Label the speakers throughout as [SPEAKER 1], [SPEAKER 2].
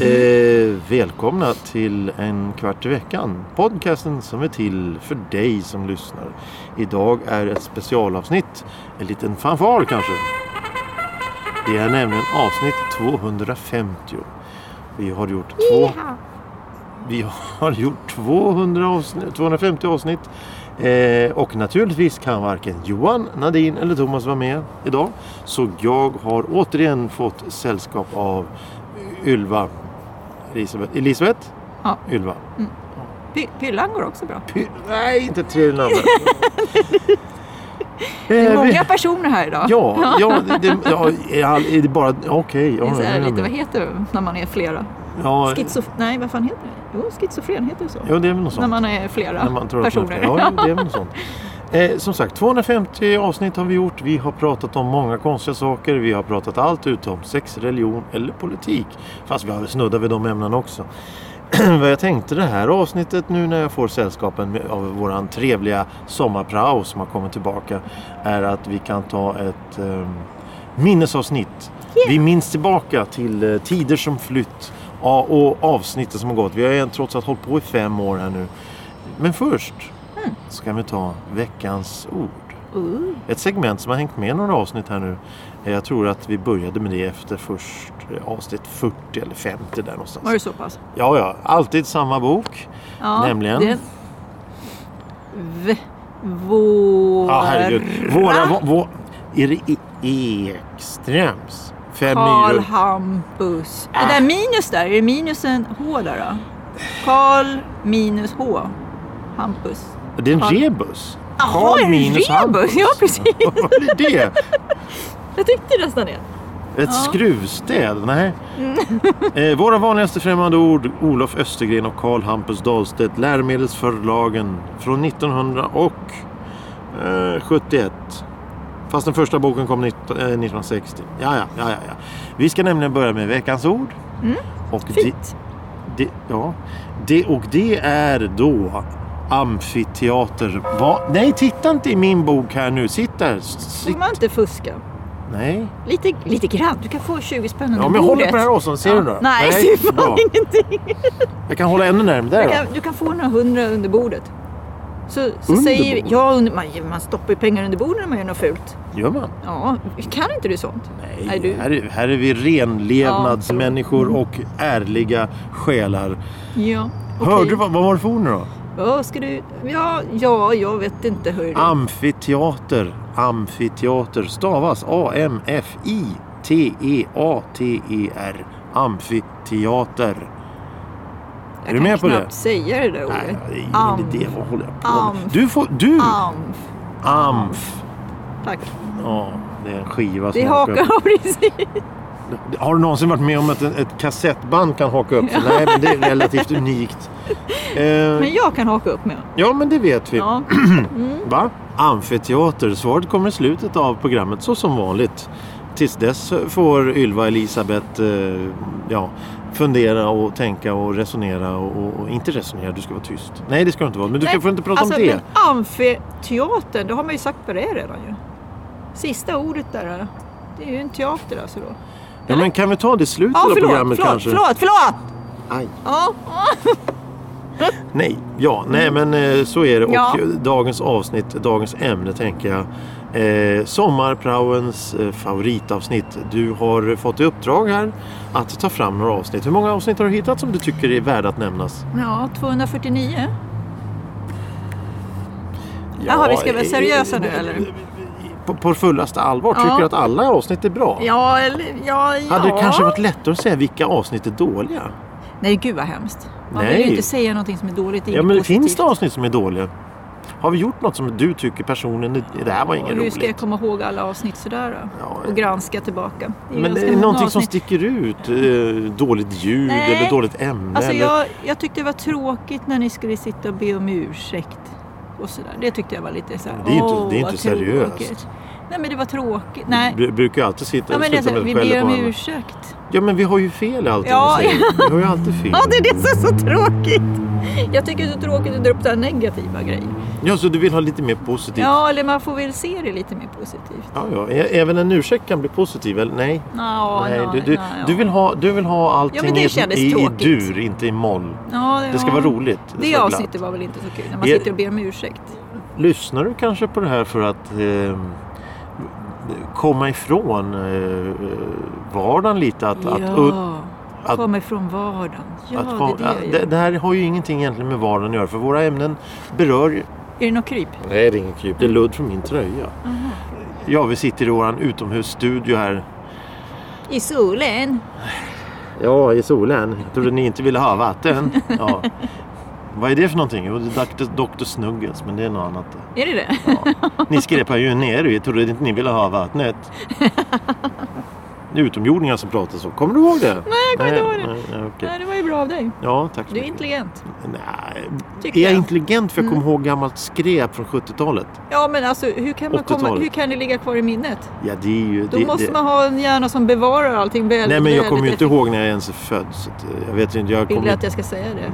[SPEAKER 1] Eh, välkomna till En kvart i veckan. Podcasten som är till för dig som lyssnar. Idag är ett specialavsnitt. En liten fanfar kanske. Det är nämligen avsnitt 250. Vi har gjort två... Vi har gjort 200 avsnitt, 250 avsnitt. Eh, och naturligtvis kan varken Johan, Nadine eller Thomas vara med idag. Så jag har återigen fått sällskap av Ylva. Elisabeth. Elisabeth?
[SPEAKER 2] Ja.
[SPEAKER 1] Ylva.
[SPEAKER 2] Py- Pyllan går också bra.
[SPEAKER 1] Py- Nej, inte tre namn. Eh,
[SPEAKER 2] Det är många personer här idag.
[SPEAKER 1] Ja, ja, det, det- ja, är all- är det bara... Okej.
[SPEAKER 2] Det är
[SPEAKER 1] ja,
[SPEAKER 2] så här
[SPEAKER 1] ja,
[SPEAKER 2] lite,
[SPEAKER 1] ja.
[SPEAKER 2] vad heter det när man är flera?
[SPEAKER 1] ja,
[SPEAKER 2] Schizof... Nej, vad fan heter det? Jo, schizofren heter det så.
[SPEAKER 1] ja, det är väl något sånt.
[SPEAKER 2] när man är flera
[SPEAKER 1] När man tror att man-
[SPEAKER 2] personer.
[SPEAKER 1] ja, det är väl något sånt. Eh, som sagt, 250 avsnitt har vi gjort. Vi har pratat om många konstiga saker. Vi har pratat allt utom sex, religion eller politik. Fast vi har snuddat vid de ämnena också. Vad jag tänkte det här avsnittet nu när jag får sällskapen med- av våran trevliga sommarprao som har kommit tillbaka är att vi kan ta ett eh, minnesavsnitt. Vi minns tillbaka till eh, tider som flytt a- och avsnittet som har gått. Vi har ju trots allt hållit på i fem år här nu. Men först
[SPEAKER 2] Mm.
[SPEAKER 1] ska vi ta veckans ord.
[SPEAKER 2] Uh,
[SPEAKER 1] Ett segment som har hängt med några avsnitt här nu. Eh, Jag tror att vi började med det efter först eh, avsnitt 40 eller 50 där någonstans.
[SPEAKER 2] var det så pass?
[SPEAKER 1] Ja, ja. Alltid samma bok.
[SPEAKER 2] Ja,
[SPEAKER 1] Nämligen?
[SPEAKER 2] Det... V... Våra...
[SPEAKER 1] Ja, herregud. Våra... Vå, vå, är det E- Ekströms? Fem
[SPEAKER 2] Karl
[SPEAKER 1] myror.
[SPEAKER 2] Hampus.
[SPEAKER 1] Äh.
[SPEAKER 2] Det där minus där, är det minusen H där då? Karl minus H. Hampus.
[SPEAKER 1] Det är en
[SPEAKER 2] Karl-
[SPEAKER 1] rebus.
[SPEAKER 2] Jaha, är det en rebus? Ja, precis.
[SPEAKER 1] Vad är det?
[SPEAKER 2] Jag tyckte nästan det.
[SPEAKER 1] Ett skruvstäd? Nej.
[SPEAKER 2] Mm.
[SPEAKER 1] eh, våra vanligaste främmande ord, Olof Östergren och Carl Hampus Dahlstedt, läromedelsförlagen från 1971. Fast den första boken kom 19, eh, 1960. Ja, ja, ja, ja, ja. Vi ska nämligen börja med veckans ord. Och
[SPEAKER 2] Mm. Fint.
[SPEAKER 1] Det, det, ja. det, och det är då amfiteater. Va? Nej, titta inte i min bok här nu. Sitt där. S-
[SPEAKER 2] Får
[SPEAKER 1] Sitt.
[SPEAKER 2] man inte fuska?
[SPEAKER 1] Nej.
[SPEAKER 2] Lite, lite grann. Du kan få 20 spänn under
[SPEAKER 1] Ja, men jag håller
[SPEAKER 2] bordet.
[SPEAKER 1] på den här avståndet. Ser
[SPEAKER 2] Ja.
[SPEAKER 1] du det?
[SPEAKER 2] Nej, ser fan
[SPEAKER 1] bra.
[SPEAKER 2] ingenting.
[SPEAKER 1] Jag kan hålla ännu närmare där
[SPEAKER 2] Du
[SPEAKER 1] då.
[SPEAKER 2] kan, du kan få några hundra under bordet. Så, så
[SPEAKER 1] Under
[SPEAKER 2] säger
[SPEAKER 1] bordet?
[SPEAKER 2] ja, under, man, man stoppar ju pengar under bordet när man gör något fult.
[SPEAKER 1] Gör man?
[SPEAKER 2] Ja, kan inte du sånt?
[SPEAKER 1] Nej,
[SPEAKER 2] Nej, du.
[SPEAKER 1] Här, är, här är vi renlevnadsmänniskor och ärliga själar.
[SPEAKER 2] Ja. okej.
[SPEAKER 1] Hörde du vad, vad var det för ord nu då?
[SPEAKER 2] Ja, ska du... Ja, ja, jag vet inte. Hör du.
[SPEAKER 1] Ah, Amfiteater. Amfiteater stavas E A-M-F-I-T-E-A-T-E-R. E Amfiteater.
[SPEAKER 2] jag
[SPEAKER 1] är du med på det?
[SPEAKER 2] knappt säga det
[SPEAKER 1] Nej,
[SPEAKER 2] där ordet.
[SPEAKER 1] det är ingen
[SPEAKER 2] Am.
[SPEAKER 1] idé. Vad håller jag på med?
[SPEAKER 2] Amf.
[SPEAKER 1] Du får... Du!
[SPEAKER 2] Amf.
[SPEAKER 1] Amf.
[SPEAKER 2] Tack.
[SPEAKER 1] Ja, det är en skiva som
[SPEAKER 2] Det
[SPEAKER 1] åker upp.
[SPEAKER 2] hakar av precis.
[SPEAKER 1] Har du någonsin varit med om att en- ett kassettband kan haka upp sig? Nej, men det är relativt unikt. Eh,
[SPEAKER 2] Men jag kan haka upp med.
[SPEAKER 1] ja, men det vet vi.
[SPEAKER 2] Ja.
[SPEAKER 1] Va? Amfiteater. Svaret kommer i slutet av programmet, så som vanligt. Tills dess får Ylva Elisabeth eh, ja, fundera och tänka och resonera. Och, och, och inte resonera, du ska vara tyst. Nej, det ska du inte vara. Men du ska,
[SPEAKER 2] Nej,
[SPEAKER 1] får inte prata
[SPEAKER 2] alltså,
[SPEAKER 1] om det.
[SPEAKER 2] Men amfiteatern, då har man ju sagt vad det är redan ju. Sista ordet där, eh, det är ju en teater alltså då.
[SPEAKER 1] Ja, men kan vi ta det i slutet
[SPEAKER 2] Ja,
[SPEAKER 1] av
[SPEAKER 2] förlåt,
[SPEAKER 1] programmet
[SPEAKER 2] förlåt, förlåt,
[SPEAKER 1] kanske?
[SPEAKER 2] förlåt,
[SPEAKER 1] Aj.
[SPEAKER 2] Ja,
[SPEAKER 1] Nej, ja, nej men eh, så är det. Och
[SPEAKER 2] Mm. Ja.
[SPEAKER 1] eh, dagens avsnitt, dagens ämne tänker jag. Eh, sommarpraoens eh, favoritavsnitt. Du har fått i uppdrag här att ta fram några avsnitt. Hur många avsnitt har du hittat som du tycker är värda att nämnas?
[SPEAKER 2] ja 249. Jaha, vi ska vara
[SPEAKER 1] eh,
[SPEAKER 2] seriösa nu,
[SPEAKER 1] eh,
[SPEAKER 2] eller?
[SPEAKER 1] På, på fullaste allvar,
[SPEAKER 2] Ja.
[SPEAKER 1] tycker du att alla avsnitt är bra?
[SPEAKER 2] Ja, eller ja, ja.
[SPEAKER 1] Hade det kanske varit lättare att säga vilka avsnitt är dåliga?
[SPEAKER 2] Nej, gud vad hemskt. Man vill
[SPEAKER 1] Nej.
[SPEAKER 2] ju inte säga någonting som är dåligt.
[SPEAKER 1] Ja, men det finns det avsnitt som är dåliga? Har vi gjort något som du tycker personligen, är- det här var inget
[SPEAKER 2] Hur ska jag
[SPEAKER 1] roligt?
[SPEAKER 2] komma ihåg alla avsnitt sådär då?
[SPEAKER 1] Ja,
[SPEAKER 2] Och granska tillbaka. ju
[SPEAKER 1] Men
[SPEAKER 2] ganska
[SPEAKER 1] är det
[SPEAKER 2] många
[SPEAKER 1] någonting som
[SPEAKER 2] avsnitt.
[SPEAKER 1] sticker ut? Eh, dåligt ljud
[SPEAKER 2] Nej.
[SPEAKER 1] eller dåligt ämne?
[SPEAKER 2] Alltså
[SPEAKER 1] eller...
[SPEAKER 2] jag, jag tyckte det var tråkigt när ni skulle sitta och be om ursäkt. Och sådär. Det tyckte jag var lite såhär,
[SPEAKER 1] Det är ju inte-
[SPEAKER 2] "Åh,
[SPEAKER 1] det är
[SPEAKER 2] vad
[SPEAKER 1] inte seriöst."
[SPEAKER 2] tråkigt." Nej men det var tråkigt. Nej.
[SPEAKER 1] Vi brukar ju alltid sitta
[SPEAKER 2] Ja,
[SPEAKER 1] och
[SPEAKER 2] men det är
[SPEAKER 1] sluta
[SPEAKER 2] så,
[SPEAKER 1] med att
[SPEAKER 2] vi
[SPEAKER 1] skälla
[SPEAKER 2] ber
[SPEAKER 1] på
[SPEAKER 2] om
[SPEAKER 1] varandra.
[SPEAKER 2] ursäkt.
[SPEAKER 1] Ja, men vi har ju fel i allting
[SPEAKER 2] Ja,
[SPEAKER 1] vi säger. Vi har ju alltid fel.
[SPEAKER 2] Ja, det är det som är så tråkigt. Jag tycker det är så tråkigt att dra upp så här negativa grejer.
[SPEAKER 1] Ja, så du vill ha lite mer positivt?
[SPEAKER 2] Ja, eller man får väl se det lite mer positivt.
[SPEAKER 1] Ja, ja. Ä- Även en ursäkt kan bli positiv, eller? Nej.
[SPEAKER 2] Ja,
[SPEAKER 1] Nej,
[SPEAKER 2] ja,
[SPEAKER 1] du, du,
[SPEAKER 2] ja, ja.
[SPEAKER 1] du, vill ha, du vill ha
[SPEAKER 2] Ja,
[SPEAKER 1] allting
[SPEAKER 2] men det
[SPEAKER 1] i,
[SPEAKER 2] kändes
[SPEAKER 1] i
[SPEAKER 2] tråkigt.
[SPEAKER 1] dur, inte i moll.
[SPEAKER 2] Ja,
[SPEAKER 1] Det ska
[SPEAKER 2] ja.
[SPEAKER 1] vara roligt. Det
[SPEAKER 2] Det
[SPEAKER 1] ska vara
[SPEAKER 2] avsnittet
[SPEAKER 1] glatt.
[SPEAKER 2] var väl inte så kul, när man
[SPEAKER 1] Är-
[SPEAKER 2] sitter och ber om ursäkt.
[SPEAKER 1] Lyssnar du kanske på det här för att eh, komma ifrån eh, vardagen lite? Att, att, upp-
[SPEAKER 2] ja,
[SPEAKER 1] att-
[SPEAKER 2] komma ifrån vardagen. Ja,
[SPEAKER 1] att kom-
[SPEAKER 2] det är det jag
[SPEAKER 1] det,
[SPEAKER 2] gör.
[SPEAKER 1] det här har ju ingenting egentligen med vardagen att göra, för våra ämnen berör ju...
[SPEAKER 2] Är det något kryp?
[SPEAKER 1] Nej, det är ingen kryp. Det är ludd från min tröja.
[SPEAKER 2] Aha.
[SPEAKER 1] Ja, vi sitter i vår utomhusstudio här.
[SPEAKER 2] I solen.
[SPEAKER 1] Ja, i solen. Jag trodde ni inte ville ha vatten. Ja. Vad är det för någonting? Jo, det är Dr. Dr. Snuggles, men det är något annat.
[SPEAKER 2] Är det det?
[SPEAKER 1] Ja. Ni skrepar ju ner er. Jag trodde inte ni ville ha vattnet. Det är utomjordingar som pratar så. Kommer du ihåg det? Nej,
[SPEAKER 2] jag kommer inte ihåg det.
[SPEAKER 1] Nej, nej, okej.
[SPEAKER 2] Nej, det var ju bra av dig.
[SPEAKER 1] Ja, tack så
[SPEAKER 2] Du är
[SPEAKER 1] mycket.
[SPEAKER 2] intelligent.
[SPEAKER 1] Nej.
[SPEAKER 2] Tycker
[SPEAKER 1] Är jag
[SPEAKER 2] jag. Mm.
[SPEAKER 1] intelligent för jag kommer ihåg gammalt skräp från 70-talet?
[SPEAKER 2] Ja, men alltså hur kan, man komma,
[SPEAKER 1] 80-talet.
[SPEAKER 2] hur kan det ligga kvar i minnet?
[SPEAKER 1] Ja, det är ju...
[SPEAKER 2] Då
[SPEAKER 1] det,
[SPEAKER 2] måste
[SPEAKER 1] det...
[SPEAKER 2] man ha en hjärna som bevarar allting
[SPEAKER 1] Nej,
[SPEAKER 2] väl.
[SPEAKER 1] men jag
[SPEAKER 2] väldigt
[SPEAKER 1] kommer ju inte
[SPEAKER 2] effektivt.
[SPEAKER 1] ihåg när jag ens är född. Så att, eh, jag vet ju inte. Jag
[SPEAKER 2] Vill
[SPEAKER 1] kommer
[SPEAKER 2] du att
[SPEAKER 1] inte...
[SPEAKER 2] jag ska säga det?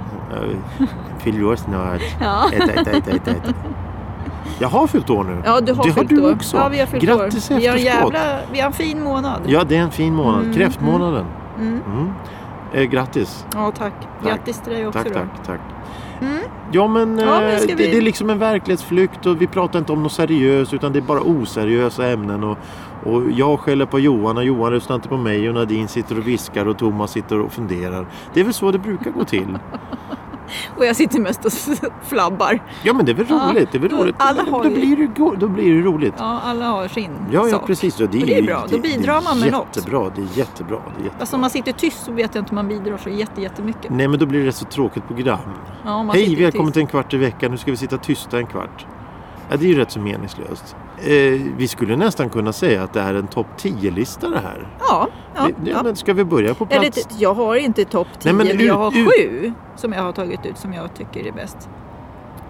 [SPEAKER 1] Jag fyller år snart.
[SPEAKER 2] Ja.
[SPEAKER 1] Ett, ett, ett, ett, ett. Jag har fyllt år nu.
[SPEAKER 2] Ja, du har
[SPEAKER 1] det har
[SPEAKER 2] fyllt
[SPEAKER 1] du
[SPEAKER 2] år.
[SPEAKER 1] också.
[SPEAKER 2] Ja, vi har fyllt
[SPEAKER 1] Grattis
[SPEAKER 2] år. Vi har, en
[SPEAKER 1] efterskott.
[SPEAKER 2] jävla, vi har en fin månad.
[SPEAKER 1] Ja, det är en fin månad.
[SPEAKER 2] Mm,
[SPEAKER 1] Kräftmånaden.
[SPEAKER 2] Mm.
[SPEAKER 1] Mm. Eh, grattis.
[SPEAKER 2] Ja, tack. Grattis till dig också
[SPEAKER 1] Tack,
[SPEAKER 2] då.
[SPEAKER 1] tack, tack.
[SPEAKER 2] Mm.
[SPEAKER 1] Ja, men, eh,
[SPEAKER 2] Ja, men ska
[SPEAKER 1] det,
[SPEAKER 2] vi-
[SPEAKER 1] det är liksom en verklighetsflykt och vi pratar inte om något seriöst utan det är bara oseriösa ämnen. Och, och jag skäller på Johan och Johan lyssnar inte på mig och Nadine sitter och viskar och Thomas sitter och funderar. Det är väl så det brukar gå till.
[SPEAKER 2] Och jag sitter mest och flabbar.
[SPEAKER 1] Ja, men det är väl
[SPEAKER 2] Ja,
[SPEAKER 1] roligt. Det är väl
[SPEAKER 2] då-
[SPEAKER 1] roligt.
[SPEAKER 2] alla har
[SPEAKER 1] då,
[SPEAKER 2] ju-
[SPEAKER 1] blir det, go- då blir det roligt.
[SPEAKER 2] Ja, alla har sin
[SPEAKER 1] Ja, ja
[SPEAKER 2] sak.
[SPEAKER 1] precis. Ja,
[SPEAKER 2] Och det är bra. Då bidrar man med något.
[SPEAKER 1] jättebra, något. Det är jättebra. Det är jättebra.
[SPEAKER 2] Alltså om man sitter tyst så vet jag inte om man bidrar så jätte, jättemycket.
[SPEAKER 1] Nej, men då blir det ett så tråkigt program.
[SPEAKER 2] Ja, om man
[SPEAKER 1] Hej,
[SPEAKER 2] sitter
[SPEAKER 1] välkommen
[SPEAKER 2] tyst.
[SPEAKER 1] till en kvart i veckan. Nu ska vi sitta tysta en kvart. Ja, det är ju rätt så meningslöst. Eh, vi skulle nästan kunna säga att det är en topp 10-lista det här.
[SPEAKER 2] Ja, ja,
[SPEAKER 1] Vi- ja,
[SPEAKER 2] ja.
[SPEAKER 1] Men ska vi börja på
[SPEAKER 2] Eller,
[SPEAKER 1] plats?
[SPEAKER 2] t- jag har inte topp 10,
[SPEAKER 1] Nej, men
[SPEAKER 2] men jag
[SPEAKER 1] ut-
[SPEAKER 2] har
[SPEAKER 1] ut-
[SPEAKER 2] sju som jag har tagit ut som jag tycker är bäst.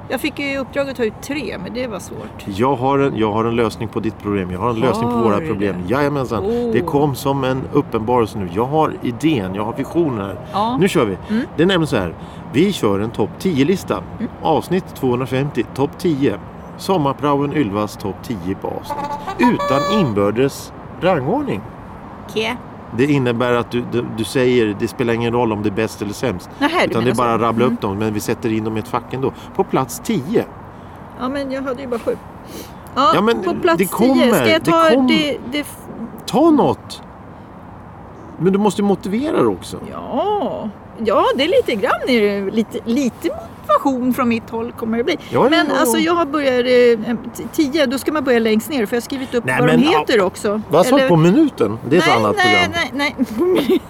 [SPEAKER 2] Jag fick ju i uppdrag att ta ut tre, men det var svårt.
[SPEAKER 1] Jag, har en, jag har en lösning på ditt problem. Jag har en lösning på
[SPEAKER 2] Har
[SPEAKER 1] våra
[SPEAKER 2] du
[SPEAKER 1] problem.
[SPEAKER 2] det?
[SPEAKER 1] Jajamensan.
[SPEAKER 2] Oh.
[SPEAKER 1] Det kom som en uppenbarelse nu. Jag har idén, jag har visionen här.
[SPEAKER 2] Ja.
[SPEAKER 1] Nu kör vi.
[SPEAKER 2] Mm.
[SPEAKER 1] Det är nämligen så här. Vi kör en topp 10-lista. Avsnitt 250, topp 10. Sommarpraon Ylvas topp 10 på avsnitt. Utan inbördes rangordning.
[SPEAKER 2] Okej.
[SPEAKER 1] Det innebär att du, du, du säger, det spelar ingen roll om det är bäst eller sämst.
[SPEAKER 2] Nähä, du
[SPEAKER 1] Utan det är
[SPEAKER 2] menar
[SPEAKER 1] bara
[SPEAKER 2] så.
[SPEAKER 1] att rabbla
[SPEAKER 2] Mm.
[SPEAKER 1] upp dem, men vi sätter in dem i ett fack ändå. På plats 10.
[SPEAKER 2] Mm. Ja, men jag hade ju bara sju. Ja,
[SPEAKER 1] Ja, men
[SPEAKER 2] på plats
[SPEAKER 1] det kommer,
[SPEAKER 2] 10. Ska jag
[SPEAKER 1] det
[SPEAKER 2] ta
[SPEAKER 1] kommer.
[SPEAKER 2] det, det... f-
[SPEAKER 1] Ta något! Men du måste ju motivera det också.
[SPEAKER 2] Ja. ja, det är lite grann är det, lite, lite motivation från mitt håll kommer det bli.
[SPEAKER 1] Ja,
[SPEAKER 2] Men
[SPEAKER 1] ja, ja.
[SPEAKER 2] alltså jag har börjat eh, t- 10, då ska man börja längst ner för jag har skrivit upp
[SPEAKER 1] Nej,
[SPEAKER 2] vad de
[SPEAKER 1] men,
[SPEAKER 2] heter också.
[SPEAKER 1] Vad sa du
[SPEAKER 2] Eller-
[SPEAKER 1] på minuten? Det är ett annat
[SPEAKER 2] nej,
[SPEAKER 1] program.
[SPEAKER 2] nej, nej.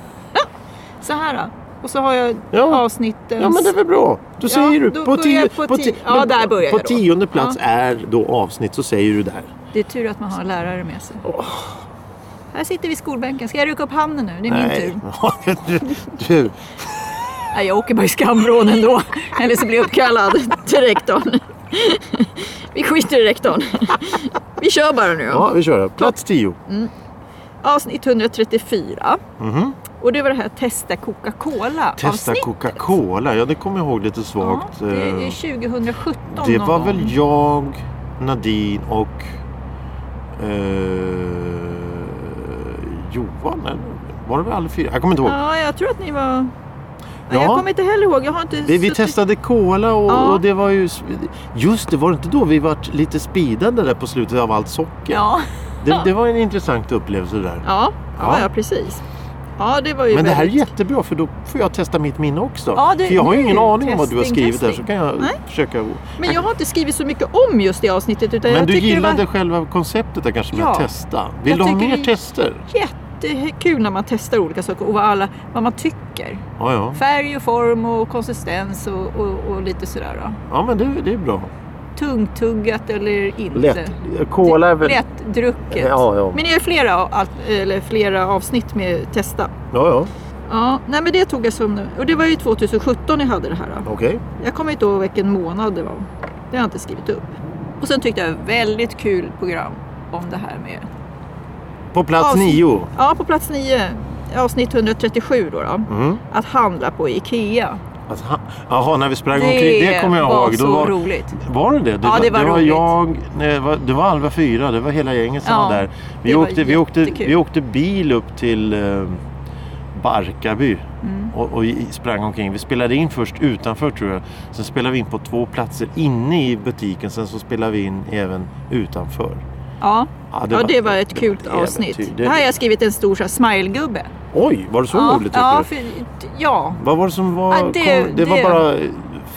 [SPEAKER 2] så här då. Och så har jag eh,
[SPEAKER 1] Ja.
[SPEAKER 2] avsnittens...
[SPEAKER 1] Ja men det är väl bra. Då säger du
[SPEAKER 2] då
[SPEAKER 1] på
[SPEAKER 2] börjar
[SPEAKER 1] tio...
[SPEAKER 2] jag på ti- ja,
[SPEAKER 1] men
[SPEAKER 2] där börjar
[SPEAKER 1] På
[SPEAKER 2] jag då.
[SPEAKER 1] tionde plats är då avsnitt, så säger du där.
[SPEAKER 2] Det är tur att man har en lärare med sig.
[SPEAKER 1] Åh.
[SPEAKER 2] Här sitter vi i skolbänken. Ska jag rycka upp handen nu? Det är min tur.
[SPEAKER 1] du, du,
[SPEAKER 2] Nej, jag åker bara i skamvrån ändå. Eller så blir jag uppkallad till rektorn. Vi skiter i rektorn. Vi kör bara nu då.
[SPEAKER 1] ja vi kör. det. Plats tio.
[SPEAKER 2] Avsnitt 134.
[SPEAKER 1] Mhm.
[SPEAKER 2] Och det var det här Testa Coca-Cola
[SPEAKER 1] Testa
[SPEAKER 2] avsnitt.
[SPEAKER 1] Coca-Cola. Ja det kommer jag ihåg lite
[SPEAKER 2] Ja,
[SPEAKER 1] svagt.
[SPEAKER 2] det
[SPEAKER 1] Eh,
[SPEAKER 2] är 2017
[SPEAKER 1] det
[SPEAKER 2] någon
[SPEAKER 1] var
[SPEAKER 2] gång.
[SPEAKER 1] väl jag, Nadine och eh, Johan eller? Var det väl alla fyra? Jag kommer inte ihåg.
[SPEAKER 2] Ja, jag tror att ni var... Ja.
[SPEAKER 1] Ja.
[SPEAKER 2] Jag kommer inte heller ihåg. Jag har inte
[SPEAKER 1] Vi, vi
[SPEAKER 2] suttit-
[SPEAKER 1] testade cola och,
[SPEAKER 2] Ja.
[SPEAKER 1] och det var ju... Just det, var det inte då vi vart lite speedade där på slutet av allt socker?
[SPEAKER 2] Ja.
[SPEAKER 1] Det, det var en intressant upplevelse det där.
[SPEAKER 2] Ja.
[SPEAKER 1] Ja.
[SPEAKER 2] Ja, ja, precis. Ja, det var ju
[SPEAKER 1] Men det här är
[SPEAKER 2] väldigt...
[SPEAKER 1] jättebra för då får jag testa mitt minne också.
[SPEAKER 2] Ja, det-
[SPEAKER 1] för jag har ju ingen
[SPEAKER 2] nu,
[SPEAKER 1] aning om vad du har
[SPEAKER 2] testing,
[SPEAKER 1] skrivit där så
[SPEAKER 2] testing.
[SPEAKER 1] kan jag
[SPEAKER 2] Nej.
[SPEAKER 1] försöka...
[SPEAKER 2] Men jag har inte skrivit så mycket om just det avsnittet utan
[SPEAKER 1] Men
[SPEAKER 2] jag
[SPEAKER 1] du
[SPEAKER 2] tycker det var
[SPEAKER 1] gillade själva konceptet där kanske med
[SPEAKER 2] Ja.
[SPEAKER 1] att testa. Vill
[SPEAKER 2] Jag
[SPEAKER 1] du ha
[SPEAKER 2] tycker
[SPEAKER 1] mer
[SPEAKER 2] det-
[SPEAKER 1] tester?
[SPEAKER 2] jättekul när man testar olika saker och vad, alla, vad man tycker.
[SPEAKER 1] Ja, ja.
[SPEAKER 2] Färg och form och konsistens och, och, och lite sådär. Då.
[SPEAKER 1] ja men det, det är bra.
[SPEAKER 2] Tungtuggat eller inte.
[SPEAKER 1] Lätt. Cola är väl...
[SPEAKER 2] Lättdrucket.
[SPEAKER 1] Ja, ja.
[SPEAKER 2] Men det är ju flera, av- eller flera avsnitt med testa.
[SPEAKER 1] Ja, ja.
[SPEAKER 2] Ja, nej men det tog jag som... Och det var ju 2017 jag hade det här. Då.
[SPEAKER 1] Okej.
[SPEAKER 2] Jag kommer inte ihåg vilken månad det var. Det har jag inte skrivit upp. Och sen tyckte jag väldigt kul program. om det här med...
[SPEAKER 1] På plats
[SPEAKER 2] Avsnitt-
[SPEAKER 1] nio.
[SPEAKER 2] Ja, på plats 9, avsnitt 137 då. då
[SPEAKER 1] Mm.
[SPEAKER 2] att handla på IKEA.
[SPEAKER 1] Alltså, ha- Jaha, när vi sprang omkring. Det kommer jag
[SPEAKER 2] var
[SPEAKER 1] ihåg.
[SPEAKER 2] så
[SPEAKER 1] Då var,
[SPEAKER 2] roligt.
[SPEAKER 1] var det det? Det
[SPEAKER 2] Ja, det var
[SPEAKER 1] det var
[SPEAKER 2] roligt.
[SPEAKER 1] jag, nej, det var, det var Alva 4, det var hela gänget som
[SPEAKER 2] Ja,
[SPEAKER 1] var där. Vi
[SPEAKER 2] det var
[SPEAKER 1] åkte, vi, åkte,
[SPEAKER 2] jättekul.
[SPEAKER 1] vi åkte bil upp till eh, Barkarby
[SPEAKER 2] Mm.
[SPEAKER 1] och, och i- sprang omkring. Vi spelade in först utanför tror jag. Sen spelade vi in på två platser inne i butiken. Sen så spelade vi in även utanför.
[SPEAKER 2] Ja.
[SPEAKER 1] Ja,
[SPEAKER 2] ja, det var ett
[SPEAKER 1] det
[SPEAKER 2] kul
[SPEAKER 1] var ett
[SPEAKER 2] avsnitt.
[SPEAKER 1] äventyr.
[SPEAKER 2] Det
[SPEAKER 1] Det-
[SPEAKER 2] här har jag skrivit en stor så här smile-gubbe.
[SPEAKER 1] Oj, var det så
[SPEAKER 2] ja,
[SPEAKER 1] roligt?
[SPEAKER 2] ja,
[SPEAKER 1] tycker du?
[SPEAKER 2] för, ja.
[SPEAKER 1] Vad var det som var...
[SPEAKER 2] Ja, det-
[SPEAKER 1] kon- det var
[SPEAKER 2] det-
[SPEAKER 1] bara eh,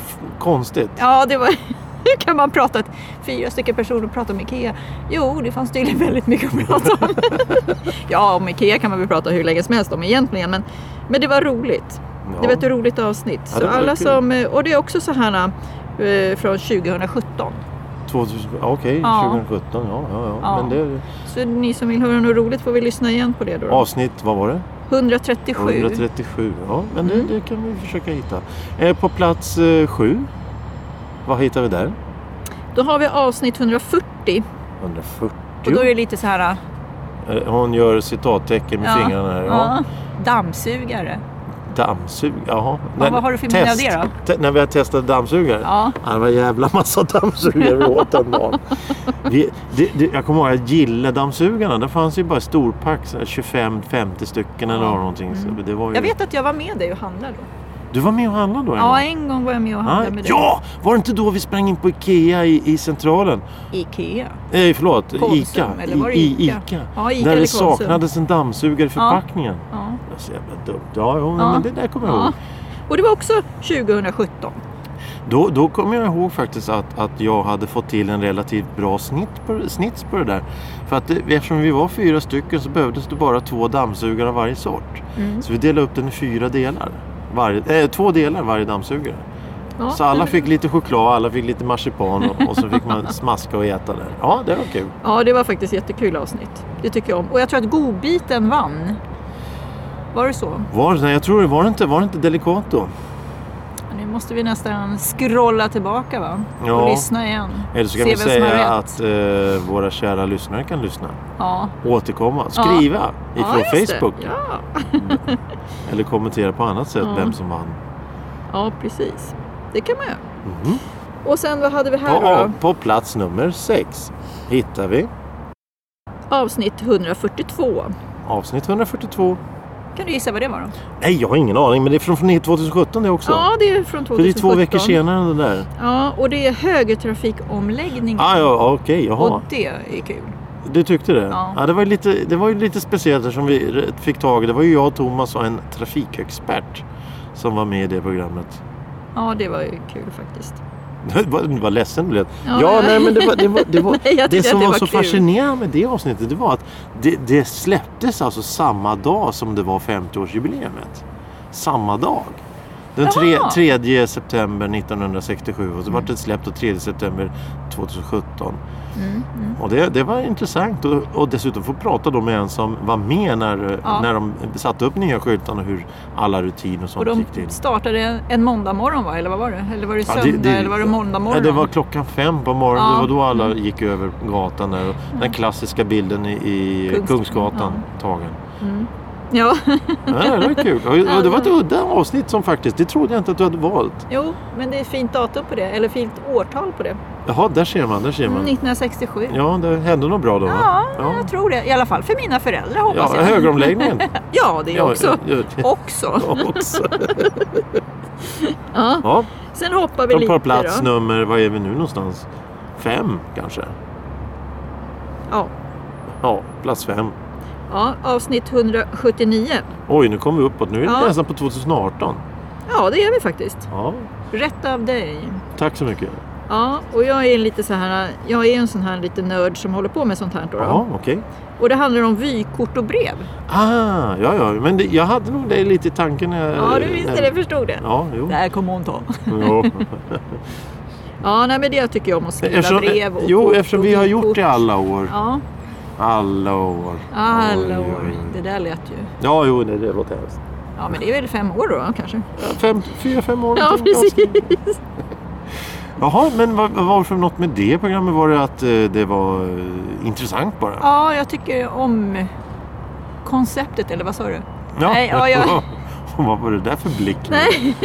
[SPEAKER 1] f- konstigt.
[SPEAKER 2] ja, det var... Hur kan man prata, att fyra stycken personer pratar om IKEA? Jo, det fanns tydligen väldigt mycket att prata om. ja, om IKEA kan man väl prata hur länge som helst om egentligen, men, men det var roligt. Det var ett roligt avsnitt.
[SPEAKER 1] Ja, det
[SPEAKER 2] Så
[SPEAKER 1] var
[SPEAKER 2] alla
[SPEAKER 1] kul.
[SPEAKER 2] som, och det är också så här eh, från 2017.
[SPEAKER 1] 2000, ja, okej,
[SPEAKER 2] Ja.
[SPEAKER 1] 2017. Ja, ja, ja.
[SPEAKER 2] Ja.
[SPEAKER 1] Men det,
[SPEAKER 2] Så ni som vill höra något roligt får vi lyssna igen på det då.
[SPEAKER 1] avsnitt, vad var det?
[SPEAKER 2] 137.
[SPEAKER 1] 137. Ja, men
[SPEAKER 2] Mm.
[SPEAKER 1] det, det kan vi försöka hitta. Eh, på plats eh, sju, vad hittar vi där?
[SPEAKER 2] Då har vi avsnitt 140
[SPEAKER 1] 140.
[SPEAKER 2] och då är det lite så här...
[SPEAKER 1] Eh, Hon gör citattecken med
[SPEAKER 2] Ja.
[SPEAKER 1] fingrarna här. Ja.
[SPEAKER 2] Ja. Dammsugare.
[SPEAKER 1] Dammsug, jaha.
[SPEAKER 2] Ja, vad har du för minne av det
[SPEAKER 1] då? när vi har testat dammsugare?
[SPEAKER 2] Ja.
[SPEAKER 1] Det var en jävla massa dammsugare vi åt den dagen. Vi, det, det, jag kommer ihåg att jag gillade dammsugarna. Det fanns ju bara storpack, så här 25-50 stycken eller
[SPEAKER 2] Ja. Mm.
[SPEAKER 1] någonting. Så det var ju...
[SPEAKER 2] Jag vet att jag var med dig och handlade då.
[SPEAKER 1] Du var med och handlade då?
[SPEAKER 2] Ja,
[SPEAKER 1] Emma?
[SPEAKER 2] en gång var jag med och
[SPEAKER 1] Ja,
[SPEAKER 2] handlade med dig.
[SPEAKER 1] Ah, ja, var det inte då vi sprang in på Ikea i, i centralen?
[SPEAKER 2] Ikea.
[SPEAKER 1] Nej, förlåt,
[SPEAKER 2] Konsum,
[SPEAKER 1] Ica.
[SPEAKER 2] eller var det
[SPEAKER 1] I, i
[SPEAKER 2] Ica?
[SPEAKER 1] Ica.
[SPEAKER 2] Ja, Ica
[SPEAKER 1] där
[SPEAKER 2] eller
[SPEAKER 1] det
[SPEAKER 2] Konsum.
[SPEAKER 1] saknades en dammsugare i förpackningen.
[SPEAKER 2] Ja.
[SPEAKER 1] Det var Så jävla dumt. Ja, jo,
[SPEAKER 2] Ja.
[SPEAKER 1] men det där kommer jag
[SPEAKER 2] Ja.
[SPEAKER 1] ihåg.
[SPEAKER 2] Och det var också 2017.
[SPEAKER 1] Då, då kommer jag ihåg faktiskt att, att jag hade fått till en relativt bra snitt på, snits på det där. För att det, eftersom vi var fyra stycken så behövdes det bara två dammsugare av varje sort.
[SPEAKER 2] Mm.
[SPEAKER 1] Så vi delade upp den i fyra delar. Varje, eh, två delar varje dammsugare.
[SPEAKER 2] Ja.
[SPEAKER 1] Så alla fick lite choklad, alla fick lite marsipan och, och så fick man smaska och äta där. Ja, det var kul.
[SPEAKER 2] Ja, det var faktiskt jättekul avsnitt. Det tycker jag om. Och jag tror att godbiten vann. Var det så?
[SPEAKER 1] Var, nej, jag tror det var det inte, var det inte Delicato?
[SPEAKER 2] Nu måste vi nästan scrolla tillbaka va?
[SPEAKER 1] Ja.
[SPEAKER 2] Och lyssna igen.
[SPEAKER 1] Eller så kan
[SPEAKER 2] Se
[SPEAKER 1] vi
[SPEAKER 2] vem som har rätt.
[SPEAKER 1] säga att eh, våra kära lyssnare kan lyssna.
[SPEAKER 2] Ja.
[SPEAKER 1] Återkomma,
[SPEAKER 2] Ja.
[SPEAKER 1] skriva ifrån
[SPEAKER 2] ja, just det.
[SPEAKER 1] Facebook.
[SPEAKER 2] Ja.
[SPEAKER 1] Eller kommentera på annat sätt
[SPEAKER 2] Ja.
[SPEAKER 1] vem som vann.
[SPEAKER 2] ja, precis. Det kan man göra.
[SPEAKER 1] Mhm.
[SPEAKER 2] Och sen vad hade vi här
[SPEAKER 1] På,
[SPEAKER 2] då?
[SPEAKER 1] på plats nummer sex hittar vi
[SPEAKER 2] Avsnitt 142.
[SPEAKER 1] avsnitt 142.
[SPEAKER 2] Kan du gissa vad det var då?
[SPEAKER 1] Nej, jag har ingen aning, men det är från från 2017 det också.
[SPEAKER 2] Ja, det är från
[SPEAKER 1] För
[SPEAKER 2] 2017.
[SPEAKER 1] det är två veckor senare än det där.
[SPEAKER 2] Ja, och det är högertrafikomläggningen.
[SPEAKER 1] Ah, ja, okej, jaha.
[SPEAKER 2] Och det är kul.
[SPEAKER 1] Du tyckte det?
[SPEAKER 2] Ja.
[SPEAKER 1] Ja. det, var ju lite, det var ju lite speciellt som vi r- fick tag i. Det var ju jag, Thomas och en trafikexpert som var med i det programmet.
[SPEAKER 2] Ja, det var ju kul faktiskt.
[SPEAKER 1] Vad vad ledsen du blev.
[SPEAKER 2] Ja,
[SPEAKER 1] Ja,
[SPEAKER 2] ja.
[SPEAKER 1] nej men det var... Det, var, det, var,
[SPEAKER 2] Nej, jag tyckte
[SPEAKER 1] det som
[SPEAKER 2] att det
[SPEAKER 1] var,
[SPEAKER 2] var
[SPEAKER 1] så
[SPEAKER 2] kul.
[SPEAKER 1] fascinerande med det avsnittet det var att det, det släpptes alltså samma dag som det var 50-årsjubileumet. Samma dag. Den tre,
[SPEAKER 2] Jaha.
[SPEAKER 1] 3 september 1967 och så vart det släppt den 3 september 2017.
[SPEAKER 2] Mm,
[SPEAKER 1] Och det, det var intressant och, och dessutom få prata då med en som var med när,
[SPEAKER 2] Ja.
[SPEAKER 1] när de satte upp nya skyltarna och hur alla rutiner och
[SPEAKER 2] Och
[SPEAKER 1] sånt
[SPEAKER 2] de
[SPEAKER 1] gick till.
[SPEAKER 2] startade en måndag morgon va? Eller vad var det? Eller var det
[SPEAKER 1] Ja,
[SPEAKER 2] söndag? Eller var det måndag morgon?
[SPEAKER 1] Ja, det var klockan fem på morgonen.
[SPEAKER 2] Ja. Mm.
[SPEAKER 1] Det var då alla gick över gatan där. Och Den klassiska bilden i, i
[SPEAKER 2] Kungs-
[SPEAKER 1] Kungsgatan tagen.
[SPEAKER 2] Mm. Ja,
[SPEAKER 1] Ja, det var kul. Och, och det var ett udda avsnitt som faktiskt, det trodde jag inte att du hade valt.
[SPEAKER 2] jo, men det är fint datum på det. Eller fint årtal på det.
[SPEAKER 1] Jaha, där ser man, där ser man.
[SPEAKER 2] 1967.
[SPEAKER 1] Ja, det hände något bra då va?
[SPEAKER 2] Ja, jag tror det. I alla fall för mina föräldrar hoppas
[SPEAKER 1] Ja,
[SPEAKER 2] jag.
[SPEAKER 1] högeromläggningen.
[SPEAKER 2] Ja, det är
[SPEAKER 1] Ja,
[SPEAKER 2] också.
[SPEAKER 1] ja, ja.
[SPEAKER 2] Också.
[SPEAKER 1] också.
[SPEAKER 2] Ja.
[SPEAKER 1] Ja,
[SPEAKER 2] Sen hoppar vi
[SPEAKER 1] de
[SPEAKER 2] lite
[SPEAKER 1] på plats
[SPEAKER 2] då.
[SPEAKER 1] nummer, vad är vi nu någonstans? Fem kanske?
[SPEAKER 2] Ja.
[SPEAKER 1] Ja, plats fem.
[SPEAKER 2] ja, avsnitt 179.
[SPEAKER 1] Oj, nu kom vi uppåt. Nu är vi
[SPEAKER 2] Ja.
[SPEAKER 1] nästan på 2018.
[SPEAKER 2] Ja, det är vi faktiskt.
[SPEAKER 1] Ja,
[SPEAKER 2] Rätt av dig.
[SPEAKER 1] tack så mycket.
[SPEAKER 2] Ja, och jag är lite så här, jag är en sån här liten nörd som håller på med sånt här då.
[SPEAKER 1] Ja, okej.
[SPEAKER 2] Och det handlar om vykort och brev.
[SPEAKER 1] Ah, ja, ja. Men det, jag hade nog det lite i tanken. När, jag-
[SPEAKER 2] Ja, du visste
[SPEAKER 1] när-
[SPEAKER 2] det, förstod det.
[SPEAKER 1] Ja, jo.
[SPEAKER 2] Det här kommer hon ta.
[SPEAKER 1] jo.
[SPEAKER 2] Ja, nej men det tycker jag om att skriva
[SPEAKER 1] Eftersom,
[SPEAKER 2] brev och
[SPEAKER 1] jo,
[SPEAKER 2] kort
[SPEAKER 1] eftersom
[SPEAKER 2] och
[SPEAKER 1] vi har
[SPEAKER 2] vykort.
[SPEAKER 1] gjort det alla år.
[SPEAKER 2] Ja,
[SPEAKER 1] Alla år.
[SPEAKER 2] alla
[SPEAKER 1] Oj,
[SPEAKER 2] år.
[SPEAKER 1] oj, oj.
[SPEAKER 2] Det där lät ju.
[SPEAKER 1] Ja, jo, det, det låter hemskt.
[SPEAKER 2] Ja, men det är väl fem år då kanske?
[SPEAKER 1] Ja, Fem, fyra, fem år.
[SPEAKER 2] Ja,
[SPEAKER 1] någonting.
[SPEAKER 2] precis.
[SPEAKER 1] Jaha, men vad, vad var det för något med det programmet? Var det att eh, det var eh, intressant bara?
[SPEAKER 2] Ja, jag tycker om konceptet, eller vad sa du? nej, ja, jag-
[SPEAKER 1] vad var det där för blick?
[SPEAKER 2] Nej.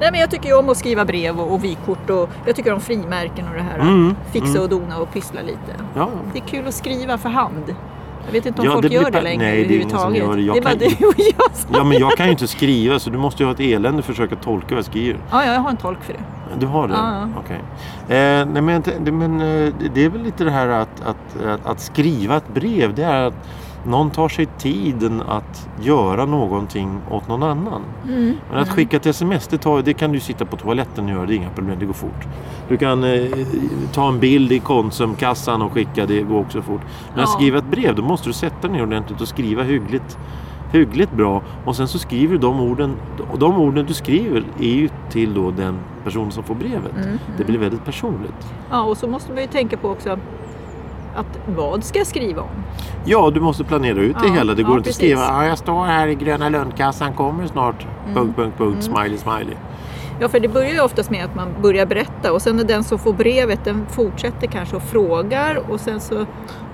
[SPEAKER 2] Nej, men jag tycker ju om att skriva brev och, och vykort och jag tycker om frimärken och det här.
[SPEAKER 1] Mm,
[SPEAKER 2] Fixa
[SPEAKER 1] mm.
[SPEAKER 2] och dona och pyssla lite.
[SPEAKER 1] Ja,
[SPEAKER 2] Det är kul att skriva för hand. Jag vet inte om
[SPEAKER 1] Ja,
[SPEAKER 2] folk
[SPEAKER 1] det blir
[SPEAKER 2] gör det
[SPEAKER 1] pa-
[SPEAKER 2] längre
[SPEAKER 1] nej, det är ingen som
[SPEAKER 2] överhuvudtaget.
[SPEAKER 1] gör det. Jag
[SPEAKER 2] är bara
[SPEAKER 1] kan-
[SPEAKER 2] du och jag som...
[SPEAKER 1] ja, men jag kan ju inte skriva så du måste ju ha ett elände att försöka tolka vad jag skriver.
[SPEAKER 2] Ja, ja, jag har en tolk för det.
[SPEAKER 1] Du har det?
[SPEAKER 2] Ja, ja.
[SPEAKER 1] Okej. Eh, nej, men, jag tän- det- men eh, det- det är väl lite det här att, att, att, att skriva ett brev. Det är att någon tar sig tiden att göra någonting åt någon annan.
[SPEAKER 2] Mm.
[SPEAKER 1] Men att skicka ett sms, det, tar, det kan du sitta på toaletten och göra. Det är inga problem, det går fort. Du kan eh, ta en bild i Konsumkassan och skicka, det går också fort. Men att
[SPEAKER 2] Ja.
[SPEAKER 1] skriva ett brev, då måste du sätta dig ner ordentligt och skriva hyggligt, hyggligt bra. Och sen så skriver du de orden, och de orden du skriver är ju till då den personen som får brevet.
[SPEAKER 2] Mm.
[SPEAKER 1] Det blir väldigt personligt.
[SPEAKER 2] Ja, och så måste man ju tänka på också att vad ska jag skriva om?
[SPEAKER 1] Ja, du måste planera ut det
[SPEAKER 2] Ja,
[SPEAKER 1] hela. Det
[SPEAKER 2] ja,
[SPEAKER 1] går inte att
[SPEAKER 2] precis. Mm.
[SPEAKER 1] skriva ja, jag står här i Gröna Lundkassan, kommer snart. Punkt, punkt, punkt, smiley, smiley.
[SPEAKER 2] Ja, för det börjar ju oftast med att man börjar berätta och sen är den som får brevet, den fortsätter kanske och frågar och sen så...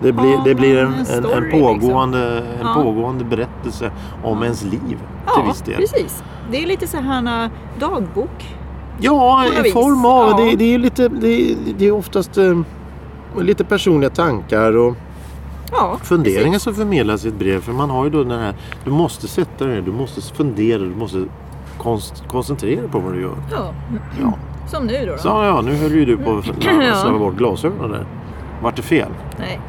[SPEAKER 1] Det blir,
[SPEAKER 2] Ja,
[SPEAKER 1] det blir en,
[SPEAKER 2] en
[SPEAKER 1] en,
[SPEAKER 2] story,
[SPEAKER 1] en,
[SPEAKER 2] liksom.
[SPEAKER 1] pågående, en
[SPEAKER 2] Ja.
[SPEAKER 1] pågående berättelse om ens liv till
[SPEAKER 2] Ja,
[SPEAKER 1] viss del.
[SPEAKER 2] precis. Det är lite så här eh, dagbok.
[SPEAKER 1] Ja,
[SPEAKER 2] På något
[SPEAKER 1] i
[SPEAKER 2] vis.
[SPEAKER 1] form av.
[SPEAKER 2] Ja.
[SPEAKER 1] Det, det är ju lite, det, det är oftast eh, lite personliga tankar och
[SPEAKER 2] Ja,
[SPEAKER 1] funderingar som förmedlas i ett brev. För man har ju då den här, du måste sätta dig ner, du måste fundera, du måste konst, koncentrera på vad du gör.
[SPEAKER 2] Ja.
[SPEAKER 1] Ja.
[SPEAKER 2] Som nu då. då.
[SPEAKER 1] Så ja, nu höll ju du på att
[SPEAKER 2] Ja.
[SPEAKER 1] slarva bort glasögonen där. Vart det fel?
[SPEAKER 2] Nej.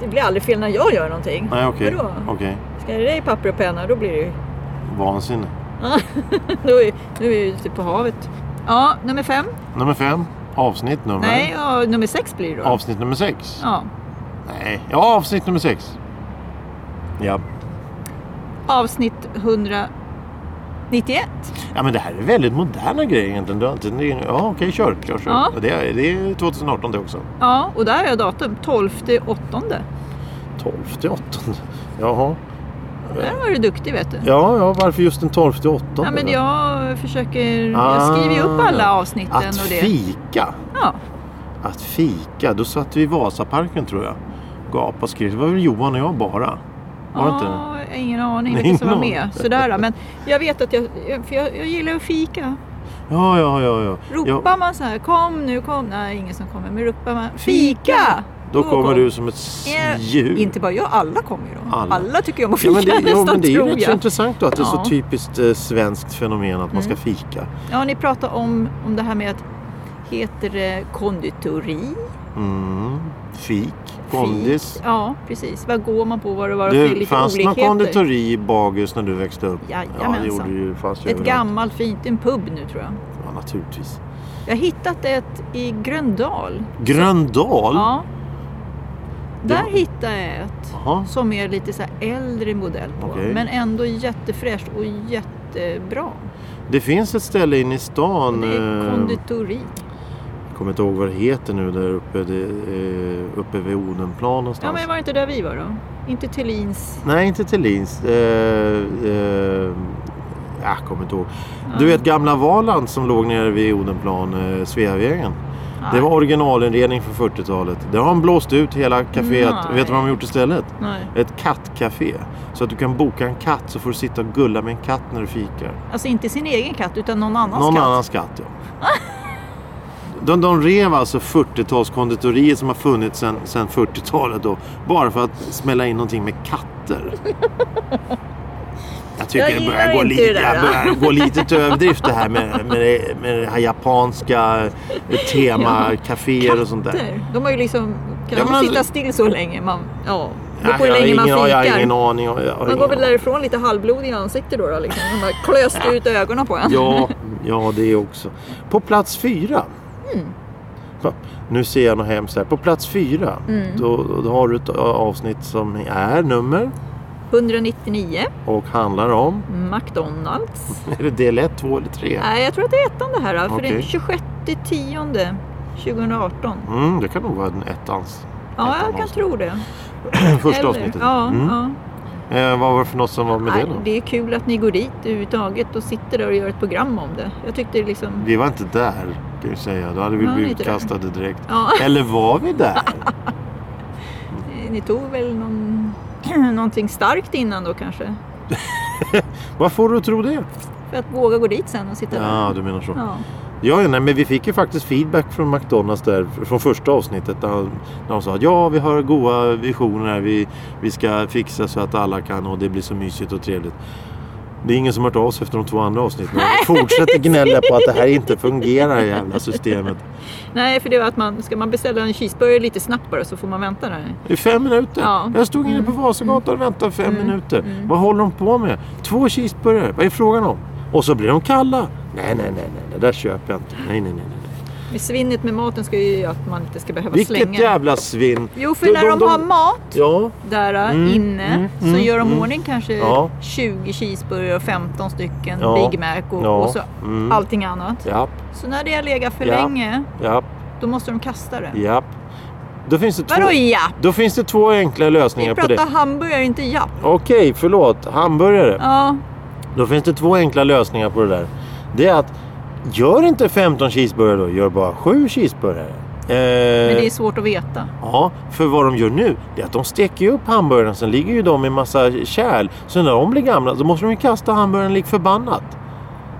[SPEAKER 2] Det blir aldrig fel när jag gör någonting.
[SPEAKER 1] Nej, okej.
[SPEAKER 2] Vadå?
[SPEAKER 1] Okej.
[SPEAKER 2] Ska jag ge dig papper och penna, då blir det ju...
[SPEAKER 1] Vansinne.
[SPEAKER 2] då är, nu är vi ute på havet. Ja, nummer fem.
[SPEAKER 1] Nummer fem. Avsnitt nummer.
[SPEAKER 2] Nej, ja, nummer sex blir det då.
[SPEAKER 1] Avsnitt nummer sex.
[SPEAKER 2] Ja.
[SPEAKER 1] Nej, ja avsnitt nummer sex. Ja.
[SPEAKER 2] Avsnitt 191.
[SPEAKER 1] ja, men det här är väldigt moderna grejer egentligen. Du har inte... det är- Ja, okej, kör, kör, kör.
[SPEAKER 2] Ja.
[SPEAKER 1] Det, är, det är 2018 det också.
[SPEAKER 2] Ja, och där har jag datum. 12 åttonde.
[SPEAKER 1] 12 till 8. Jaha.
[SPEAKER 2] Där var du duktig vet du.
[SPEAKER 1] Ja, ja, varför just den 12 till 8?
[SPEAKER 2] Ja, men jag försöker...
[SPEAKER 1] Ah.
[SPEAKER 2] Jag skriver ju upp alla avsnitten
[SPEAKER 1] Att
[SPEAKER 2] och det.
[SPEAKER 1] fika.
[SPEAKER 2] Ja.
[SPEAKER 1] Att fika. Då satt vi i Vasaparken tror jag. Gapade och skrek. Det var väl Johan och jag bara? Var det inte det?
[SPEAKER 2] Ja, jag har ingen aning
[SPEAKER 1] Nej,
[SPEAKER 2] vilka som var
[SPEAKER 1] ingen
[SPEAKER 2] med.
[SPEAKER 1] aning.
[SPEAKER 2] Sådär, men jag vet att jag, för jag, jag gillar att fika.
[SPEAKER 1] Ja, ja, ja. ja.
[SPEAKER 2] Ropar
[SPEAKER 1] ja
[SPEAKER 2] man så här, kom nu, kom. Nej, ingen som kommer, men ropar man fika!
[SPEAKER 1] då kommer
[SPEAKER 2] kom.
[SPEAKER 1] du som ett
[SPEAKER 2] Ja,
[SPEAKER 1] djur.
[SPEAKER 2] Inte bara jag, alla kommer ju då.
[SPEAKER 1] Mm. Alla.
[SPEAKER 2] Alla, tycker ju om att
[SPEAKER 1] Ja,
[SPEAKER 2] fika
[SPEAKER 1] men det,
[SPEAKER 2] nästan,
[SPEAKER 1] ja, men det är ju
[SPEAKER 2] tror
[SPEAKER 1] rätt så
[SPEAKER 2] jag.
[SPEAKER 1] intressant då att det är
[SPEAKER 2] Ja.
[SPEAKER 1] så typiskt eh, svenskt fenomen att man ska
[SPEAKER 2] Mm.
[SPEAKER 1] fika.
[SPEAKER 2] Ja, ni pratar om, om det här med att heter det konditori?
[SPEAKER 1] Mm. Fik, kondis.
[SPEAKER 2] Fik? Ja, precis. Vad går man på? Vad det var för
[SPEAKER 1] Du,
[SPEAKER 2] lite
[SPEAKER 1] fanns det någon
[SPEAKER 2] olikheter?
[SPEAKER 1] konditori i Bagis när du växte upp? Ja,
[SPEAKER 2] Jajamensan.
[SPEAKER 1] det gjorde ju fast
[SPEAKER 2] Ett gammalt fint, en pub nu tror jag.
[SPEAKER 1] Ja, naturligtvis.
[SPEAKER 2] Jag har hittat ett i Gröndal.
[SPEAKER 1] Gröndal?
[SPEAKER 2] Ja. Där
[SPEAKER 1] Ja.
[SPEAKER 2] hittade jag ett
[SPEAKER 1] Jaha.
[SPEAKER 2] som är lite så här äldre modell på.
[SPEAKER 1] Okej.
[SPEAKER 2] Men ändå jättefräscht och jättebra.
[SPEAKER 1] Det finns ett ställe inne i stan.
[SPEAKER 2] Det är
[SPEAKER 1] eh,
[SPEAKER 2] konditori.
[SPEAKER 1] jag kommer inte ihåg vad det heter nu där uppe. Det, eh, uppe vid Odenplan
[SPEAKER 2] Ja
[SPEAKER 1] någonstans.
[SPEAKER 2] men var det inte där vi var då? Inte Thelins.
[SPEAKER 1] Nej, inte Thelins. Eh, eh, jag kommer inte ihåg. Du
[SPEAKER 2] Ja.
[SPEAKER 1] vet gamla Valand som låg nere vid Odenplan, eh, Sveavägen. Det
[SPEAKER 2] Nej.
[SPEAKER 1] var originalinredning från 40-talet. Där har de blåst ut hela kaféet.
[SPEAKER 2] Nej.
[SPEAKER 1] Vet du vad de har gjort istället?
[SPEAKER 2] Nej.
[SPEAKER 1] Ett kattcafé. Så att du kan boka en katt så får du sitta och gulla med en katt när du fikar.
[SPEAKER 2] Alltså inte sin egen katt utan någon annans
[SPEAKER 1] Någon
[SPEAKER 2] katt.
[SPEAKER 1] annans katt, ja. De, de rev alltså 40-talskonditorier som har funnits sedan sedan 40-talet då. Bara för att smälla in någonting med katter. Jag tycker
[SPEAKER 2] Jag
[SPEAKER 1] det
[SPEAKER 2] gillar
[SPEAKER 1] börjar gå
[SPEAKER 2] inte
[SPEAKER 1] lite,
[SPEAKER 2] det där,
[SPEAKER 1] jag börjar gå lite till överdrift det här med, med, det, med det här japanska temakaféer och sånt där.
[SPEAKER 2] Där. De har ju liksom, kan
[SPEAKER 1] Ja, men
[SPEAKER 2] man sitta
[SPEAKER 1] alltså-
[SPEAKER 2] still så länge? Man, ja, det
[SPEAKER 1] Nej,
[SPEAKER 2] beror på hur
[SPEAKER 1] jag har
[SPEAKER 2] länge man
[SPEAKER 1] ingen-
[SPEAKER 2] fikar.
[SPEAKER 1] Jag har ingen aning. Jag har
[SPEAKER 2] man
[SPEAKER 1] ingen
[SPEAKER 2] går väl
[SPEAKER 1] aning.
[SPEAKER 2] därifrån lite halvblodig i ansiktet då, då liksom. Man bara klöste ut ögonen på en.
[SPEAKER 1] Ja, ja, det också. På plats fyra.
[SPEAKER 2] Mm.
[SPEAKER 1] Pa- Nu ser jag något hemskt här. På plats fyra
[SPEAKER 2] Mm.
[SPEAKER 1] då, då har du ett avsnitt som är nummer
[SPEAKER 2] 199,
[SPEAKER 1] och handlar om.
[SPEAKER 2] McDonalds.
[SPEAKER 1] Är det del 1, 2 eller 3?
[SPEAKER 2] Nej, jag tror att det är ettan det här. För det är
[SPEAKER 1] Okej.
[SPEAKER 2] 26 10 2018.
[SPEAKER 1] Mm, det kan nog vara en ettans.
[SPEAKER 2] Ja,
[SPEAKER 1] Ettan
[SPEAKER 2] jag kan
[SPEAKER 1] avsnitt.
[SPEAKER 2] tro det.
[SPEAKER 1] Första
[SPEAKER 2] Eller-
[SPEAKER 1] avsnittet.
[SPEAKER 2] Ja,
[SPEAKER 1] Mm.
[SPEAKER 2] ja.
[SPEAKER 1] Eh, vad var det för något som var med
[SPEAKER 2] Nej,
[SPEAKER 1] det då?
[SPEAKER 2] det är kul att ni går dit överhuvudtaget och sitter där och gör ett program om det. Jag tyckte liksom...
[SPEAKER 1] Vi var inte där kan jag säga. Då hade vi
[SPEAKER 2] Var ni
[SPEAKER 1] blivit
[SPEAKER 2] inte där?
[SPEAKER 1] utkastade direkt.
[SPEAKER 2] Ja,
[SPEAKER 1] Eller var vi där?
[SPEAKER 2] ni tog väl någon, någonting starkt innan då kanske?
[SPEAKER 1] Vad får du att tro det?
[SPEAKER 2] För att våga gå dit sen och sitta
[SPEAKER 1] Ja,
[SPEAKER 2] där.
[SPEAKER 1] du menar så.
[SPEAKER 2] Ja.
[SPEAKER 1] Ja, nej, men vi fick ju faktiskt feedback från McDonalds där från första avsnittet. Där, han- där de sa att ja, vi har goda visioner. här. Vi, vi ska fixa så att alla kan och det blir så mysigt och trevligt. Det är ingen som har hört av sig efter de två andra avsnitten. De fortsätter gnälla på att det här inte fungerar, det jävla systemet.
[SPEAKER 2] Nej, för det var att man, ska man beställa en cheeseburger lite snabbt bara så får man vänta där.
[SPEAKER 1] I fem minuter.
[SPEAKER 2] Ja.
[SPEAKER 1] Jag stod inne på Vasagatan och väntade fem
[SPEAKER 2] Mm.
[SPEAKER 1] minuter.
[SPEAKER 2] Mm.
[SPEAKER 1] Vad håller de på med? Två cheeseburgare. Vad är frågan om? Och så blir de kalla. Nej, nej, nej, nej. Det där köper jag inte. Nej, nej, nej. nej.
[SPEAKER 2] Men svinnet med maten ska ju göra att man inte ska behöva
[SPEAKER 1] Vilket
[SPEAKER 2] slänga.
[SPEAKER 1] jävla svinn.
[SPEAKER 2] Jo, för
[SPEAKER 1] De-
[SPEAKER 2] när
[SPEAKER 1] de-
[SPEAKER 2] de,
[SPEAKER 1] de-
[SPEAKER 2] har mat
[SPEAKER 1] Ja,
[SPEAKER 2] där äh,
[SPEAKER 1] Mm,
[SPEAKER 2] inne
[SPEAKER 1] mm,
[SPEAKER 2] så
[SPEAKER 1] mm,
[SPEAKER 2] gör de
[SPEAKER 1] mm.
[SPEAKER 2] ordning kanske
[SPEAKER 1] Ja.
[SPEAKER 2] 20 cheeseburgare och 15 stycken
[SPEAKER 1] Ja.
[SPEAKER 2] Big Mac och,
[SPEAKER 1] Ja.
[SPEAKER 2] och så
[SPEAKER 1] Mm.
[SPEAKER 2] allting annat.
[SPEAKER 1] japp,
[SPEAKER 2] Så när det har legat för
[SPEAKER 1] Ja.
[SPEAKER 2] länge,
[SPEAKER 1] japp,
[SPEAKER 2] då måste de kasta det.
[SPEAKER 1] japp. Då finns det två,
[SPEAKER 2] Vadå japp?
[SPEAKER 1] då finns det två enkla
[SPEAKER 2] Vi
[SPEAKER 1] lösningar på det.
[SPEAKER 2] pratar hamburgare, inte japp.
[SPEAKER 1] Okej, förlåt. Hamburgare.
[SPEAKER 2] Ja,
[SPEAKER 1] Då finns det två enkla lösningar på det där. Det är att gör inte 15 cheeseburgare då, gör bara 7 cheeseburgare.
[SPEAKER 2] men
[SPEAKER 1] Eh,
[SPEAKER 2] det är svårt att veta.
[SPEAKER 1] Ja, för vad de gör nu det är att de steker ju upp hamburgaren sen ligger ju de i massa kärl. Så när de blir gamla då måste de ju kasta hamburgaren lik förbannat.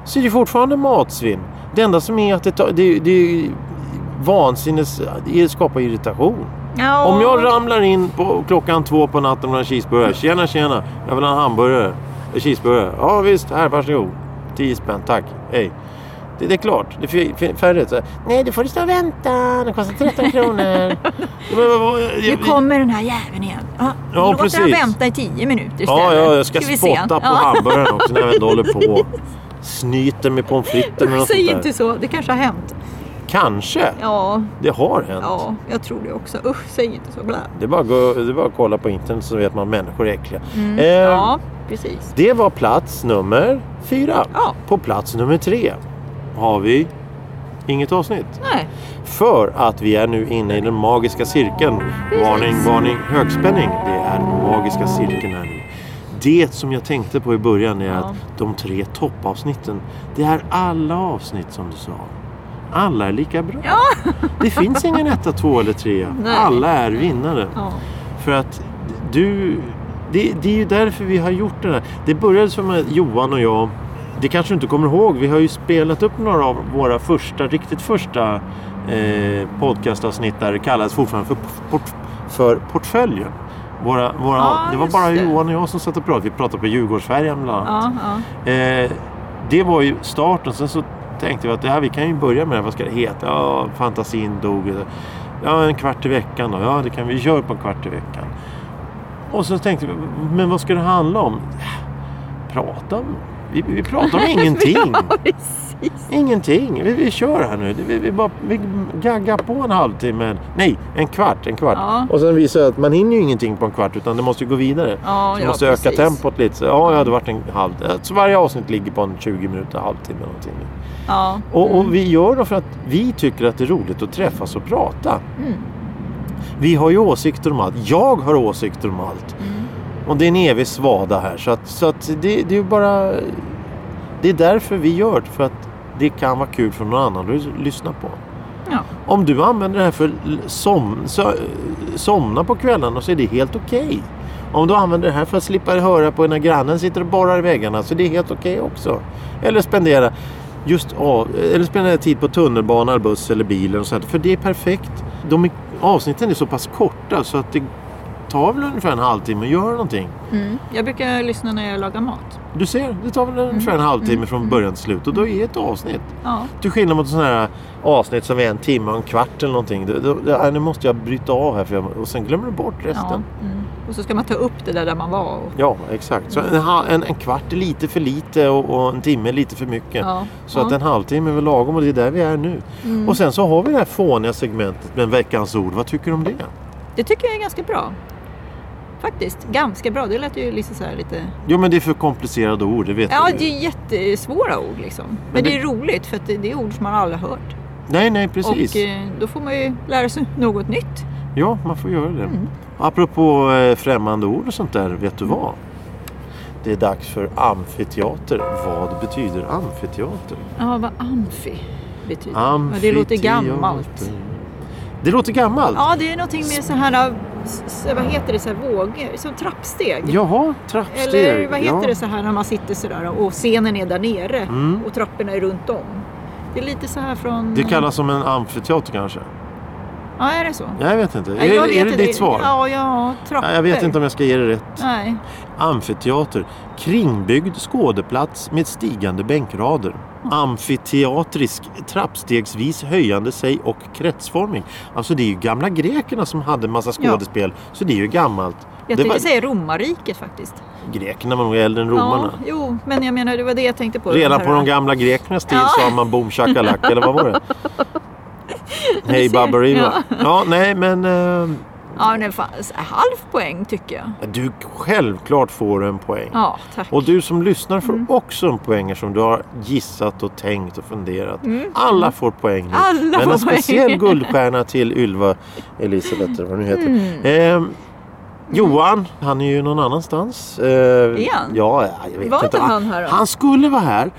[SPEAKER 1] Så det är fortfarande matsvinn. Det enda som är att det, tar- det, det vansinnes, det skapar irritation.
[SPEAKER 2] Ja,
[SPEAKER 1] Om jag ramlar in på klockan två på natten med en cheeseburgare. Tjena, tjena. Jag vill ha en hamburgare. En cheeseburgare. Ja, visst. Här, varsågod. 10 spänn, tack. Hej. Det, det är klart. Det är fi- färre. Så här, Nej, du får du stå och vänta. Den kostar 13 kronor. Men vad- vad-
[SPEAKER 2] nu kommer den här jäveln igen. Ja,
[SPEAKER 1] Ja,
[SPEAKER 2] låt han
[SPEAKER 1] precis.
[SPEAKER 2] vänta i 10 minuter istället.
[SPEAKER 1] Ja, ja, jag ska,
[SPEAKER 2] vi se.
[SPEAKER 1] spotta på
[SPEAKER 2] Ja.
[SPEAKER 1] hamburgaren också när jag ändå håller på. Snyter med pommes frites eller något sånt
[SPEAKER 2] Säg
[SPEAKER 1] där.
[SPEAKER 2] inte så, det kanske har hänt.
[SPEAKER 1] Kanske.
[SPEAKER 2] Ja,
[SPEAKER 1] Det har hänt.
[SPEAKER 2] ja, jag tror det också. Usch, säg inte så. Blä.
[SPEAKER 1] Det, är bara att gå, det är bara att kolla på internet så vet man att människor är äckliga.
[SPEAKER 2] Mm.
[SPEAKER 1] Eh,
[SPEAKER 2] Ja, precis.
[SPEAKER 1] Det var plats nummer fyra.
[SPEAKER 2] Ja.
[SPEAKER 1] På plats nummer tre har vi inget avsnitt.
[SPEAKER 2] Nej,
[SPEAKER 1] För att vi är nu inne i den magiska cirkeln. Varning, varning, högspänning. Det är den magiska cirkeln här nu. Det som jag tänkte på i början är
[SPEAKER 2] Ja.
[SPEAKER 1] att de tre toppavsnitten, det är alla avsnitt som du sa. Alla är lika bra. Det finns ingen etta, två eller tre.
[SPEAKER 2] Nej.
[SPEAKER 1] Alla är vinnare.
[SPEAKER 2] ja.
[SPEAKER 1] För att du... Det, det är ju därför vi har gjort det här. Det började som att Johan och jag... Det kanske du inte kommer ihåg. Vi har ju spelat upp några av våra första, riktigt första eh, podcastavsnitt där det kallades fortfarande för, port, för portföljen. Våra, våra,
[SPEAKER 2] Ja,
[SPEAKER 1] det var
[SPEAKER 2] just
[SPEAKER 1] bara
[SPEAKER 2] det.
[SPEAKER 1] Johan och jag som satt och pratade. Vi pratade på Djurgårdsfärjan bland annat.
[SPEAKER 2] ja, ja.
[SPEAKER 1] Eh, det var ju starten. Sen så tänkte vi att det här, vi kan ju börja med det. här. Vad ska det heta? Ja, fantasin dog. Ja, en kvart i veckan då. Ja, det kan vi vi kör på en kvart i veckan. Och så tänkte vi, men vad ska det handla om? Prata om? Vi, vi pratar om ingenting.
[SPEAKER 2] Ja, precis.
[SPEAKER 1] Ingenting. Vi, vi kör här nu. Vi, vi, bara, vi gaggar på en halvtimme. Nej, en kvart. En kvart.
[SPEAKER 2] Ja.
[SPEAKER 1] Och sen visar det att man hinner ju ingenting på en kvart utan det måste ju gå vidare.
[SPEAKER 2] Ja,
[SPEAKER 1] så
[SPEAKER 2] ja,
[SPEAKER 1] måste öka
[SPEAKER 2] precis.
[SPEAKER 1] tempot lite. Så, ja, det hade varit en halv... Så varje avsnitt ligger på en 20 minuter, halvtimme någonting.
[SPEAKER 2] Ja.
[SPEAKER 1] Och, och vi gör det för att vi tycker att det är roligt att träffas och prata.
[SPEAKER 2] Mm.
[SPEAKER 1] Vi har ju åsikter om allt. Jag har åsikter om allt.
[SPEAKER 2] Mm.
[SPEAKER 1] Och det är en evig svada här. Så, att, så att det, det är ju bara... Det är därför vi gör det. För att det kan vara kul för någon annan att lyssna på.
[SPEAKER 2] Ja.
[SPEAKER 1] Om du använder det här för l- som, så, somna på kvällarna så är det helt okej. Om du använder det här för att slippa höra på när grannen sitter och borrar i väggarna så är det helt okej också. Eller spendera, just, av- eller spendera tid på tunnelbana, eller buss eller bilen. Och sånt, för det är perfekt. De är, avsnitten är så pass korta så att det tar väl ungefär en halvtimme att göra någonting.
[SPEAKER 2] Mm. Jag brukar lyssna när jag lagar mat.
[SPEAKER 1] Du ser, det tar väl ungefär en halvtimme från början till slut och då är ett avsnitt.
[SPEAKER 2] Ja.
[SPEAKER 1] Till skillnad mot sådana här avsnitt som är en timme och en kvart eller någonting. Då, då, ja, äh, nu måste jag bryta av här för jag, och sen glömmer du bort
[SPEAKER 2] Ja.
[SPEAKER 1] resten.
[SPEAKER 2] Mm. Och så ska man ta upp det där, där man var. Och...
[SPEAKER 1] Ja, exakt. Så en, ha- en, en kvart är lite för lite och, och en timme är lite för mycket.
[SPEAKER 2] Ja.
[SPEAKER 1] Så
[SPEAKER 2] ja. Mm.
[SPEAKER 1] att en halvtimme är väl lagom och det är där vi är nu. Och sen så har vi det här fåniga segmentet med veckans ord. Vad tycker du om det?
[SPEAKER 2] Det tycker jag är ganska bra. Faktiskt, ganska bra. Det lät ju liksom så här lite...
[SPEAKER 1] Jo men det är för komplicerade ord, det vet
[SPEAKER 2] Ja,
[SPEAKER 1] du.
[SPEAKER 2] det är jättesvåra ord liksom. Men,
[SPEAKER 1] Men
[SPEAKER 2] det...
[SPEAKER 1] det-
[SPEAKER 2] är roligt för att det det är ord som man aldrig har hört.
[SPEAKER 1] Nej, nej precis.
[SPEAKER 2] Och eh, då får man ju lära sig något nytt. Mm.
[SPEAKER 1] Ja, man får göra det. Apropå eh, främmande ord och sånt där, vet du vad? Det är dags för amfiteater. Vad betyder amfiteater?
[SPEAKER 2] Ja, vad amfi betyder. Ja, det låter gammalt.
[SPEAKER 1] Det låter gammalt?
[SPEAKER 2] Ja, det är någonting med så här, s- vad heter det, så här vågor, som trappsteg.
[SPEAKER 1] Jaha, trappsteg.
[SPEAKER 2] Eller vad heter
[SPEAKER 1] ja.
[SPEAKER 2] det så här när man sitter sådär och scenen är där nere
[SPEAKER 1] Mm.
[SPEAKER 2] och trapporna är runt om. Det är lite så här från...
[SPEAKER 1] Det kallas som en amfiteater kanske?
[SPEAKER 2] Ja, är det så?
[SPEAKER 1] Jag vet inte.
[SPEAKER 2] Nej,
[SPEAKER 1] är
[SPEAKER 2] jag
[SPEAKER 1] det,
[SPEAKER 2] vet
[SPEAKER 1] är det ditt svar?
[SPEAKER 2] Ja, ja, trappor.
[SPEAKER 1] Nej, jag vet inte om jag ska ge det rätt.
[SPEAKER 2] Nej.
[SPEAKER 1] Amfiteater. Kringbyggd skådeplats med stigande bänkrader. Amfiteatrisk, trappstegsvis höjande sig och kretsformig. Alltså det är ju gamla grekerna som hade en massa
[SPEAKER 2] Ja.
[SPEAKER 1] skådespel. Så det är ju gammalt.
[SPEAKER 2] Jag
[SPEAKER 1] Det
[SPEAKER 2] tänkte
[SPEAKER 1] var,
[SPEAKER 2] säga romarriket faktiskt.
[SPEAKER 1] grekerna var nog äldre än romarna.
[SPEAKER 2] Ja, jo, men jag menar det var det jag tänkte på.
[SPEAKER 1] Redan
[SPEAKER 2] här-
[SPEAKER 1] på de gamla grekernas tid
[SPEAKER 2] Ja.
[SPEAKER 1] sa man boom shakalak, eller vad var det? Hej
[SPEAKER 2] ser.
[SPEAKER 1] baberiba.
[SPEAKER 2] Ja.
[SPEAKER 1] Ja, nej men eh,
[SPEAKER 2] Ja, men fan, halv poäng tycker jag.
[SPEAKER 1] du självklart får en poäng.
[SPEAKER 2] Ja, tack.
[SPEAKER 1] Och du som lyssnar
[SPEAKER 2] Mm.
[SPEAKER 1] får också en poäng som du har gissat och tänkt och funderat. Alla får poäng nu.
[SPEAKER 2] Mm. Alla får
[SPEAKER 1] Men en
[SPEAKER 2] poäng.
[SPEAKER 1] speciell guldstjärna till Ylva Elisabeth eller vad nu heter.
[SPEAKER 2] Mm.
[SPEAKER 1] Ehm, Johan, han är ju någon annanstans. Eh,
[SPEAKER 2] han?
[SPEAKER 1] Ja, jag vet
[SPEAKER 2] Var
[SPEAKER 1] inte.
[SPEAKER 2] inte han här då?
[SPEAKER 1] Han skulle vara här.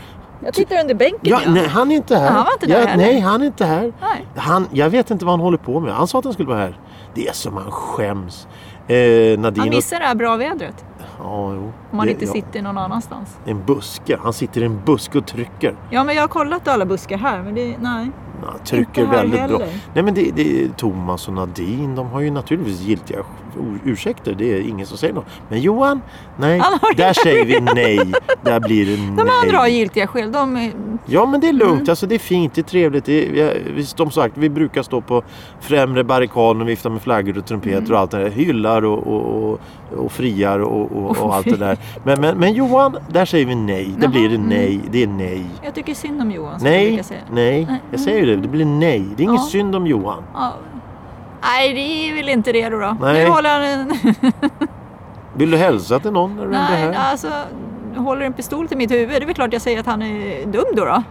[SPEAKER 2] Jag tittar under bänken.
[SPEAKER 1] Ja,
[SPEAKER 2] ja.
[SPEAKER 1] nej, han är inte här.
[SPEAKER 2] Han var inte
[SPEAKER 1] ja,
[SPEAKER 2] där heller.
[SPEAKER 1] nej, han är inte här.
[SPEAKER 2] Nej.
[SPEAKER 1] Han, jag vet inte vad han håller på med. Han sa att han skulle vara här. Det är som han skäms. Eh, Nadine
[SPEAKER 2] Han missar det här bra vädret.
[SPEAKER 1] Ja, jo.
[SPEAKER 2] Om man
[SPEAKER 1] Det-
[SPEAKER 2] inte
[SPEAKER 1] ja,
[SPEAKER 2] sitter någon annanstans.
[SPEAKER 1] En buske. Han sitter i en buske och trycker.
[SPEAKER 2] Ja, men jag har kollat alla buskar här, men det... Nej.
[SPEAKER 1] Ja, trycker
[SPEAKER 2] Inte här
[SPEAKER 1] väldigt bra.
[SPEAKER 2] heller.
[SPEAKER 1] Nej, men det, det är Thomas och Nadine, de har ju naturligtvis giltiga ur- ursäkter. Det är ingen som säger något. Men Johan, nej,
[SPEAKER 2] Han har
[SPEAKER 1] där säger vi nej. Där blir det nej.
[SPEAKER 2] De andra har Mm. giltiga skäl. De är...
[SPEAKER 1] Ja, men det är lugnt. Alltså, det är fint, det är trevligt. Det är, vi har- vi, som sagt, vi brukar stå på främre barrikaden och vifta med flaggor och trumpeter
[SPEAKER 2] Mm.
[SPEAKER 1] och allt det där. Hyllar och, och, och, och friar och, och, och allt det där. Men, men, men Johan, där säger vi nej. Där
[SPEAKER 2] Jaha,
[SPEAKER 1] blir det
[SPEAKER 2] mm.
[SPEAKER 1] nej. Det är nej.
[SPEAKER 2] Jag tycker synd om Johan, som jag
[SPEAKER 1] Nej,
[SPEAKER 2] brukar säga.
[SPEAKER 1] nej.
[SPEAKER 2] Nej.
[SPEAKER 1] Jag säger det. Det blir nej. Det är ingen
[SPEAKER 2] Ja.
[SPEAKER 1] synd om Johan.
[SPEAKER 2] Ja. Nej, det är väl inte det då. då.
[SPEAKER 1] Nej.
[SPEAKER 2] Nu håller han en...
[SPEAKER 1] Vill du hälsa till någon när du ändå är
[SPEAKER 2] Nej,
[SPEAKER 1] här?
[SPEAKER 2] alltså, håller en pistol till mitt huvud. Det är väl klart jag säger att han är dum då. då.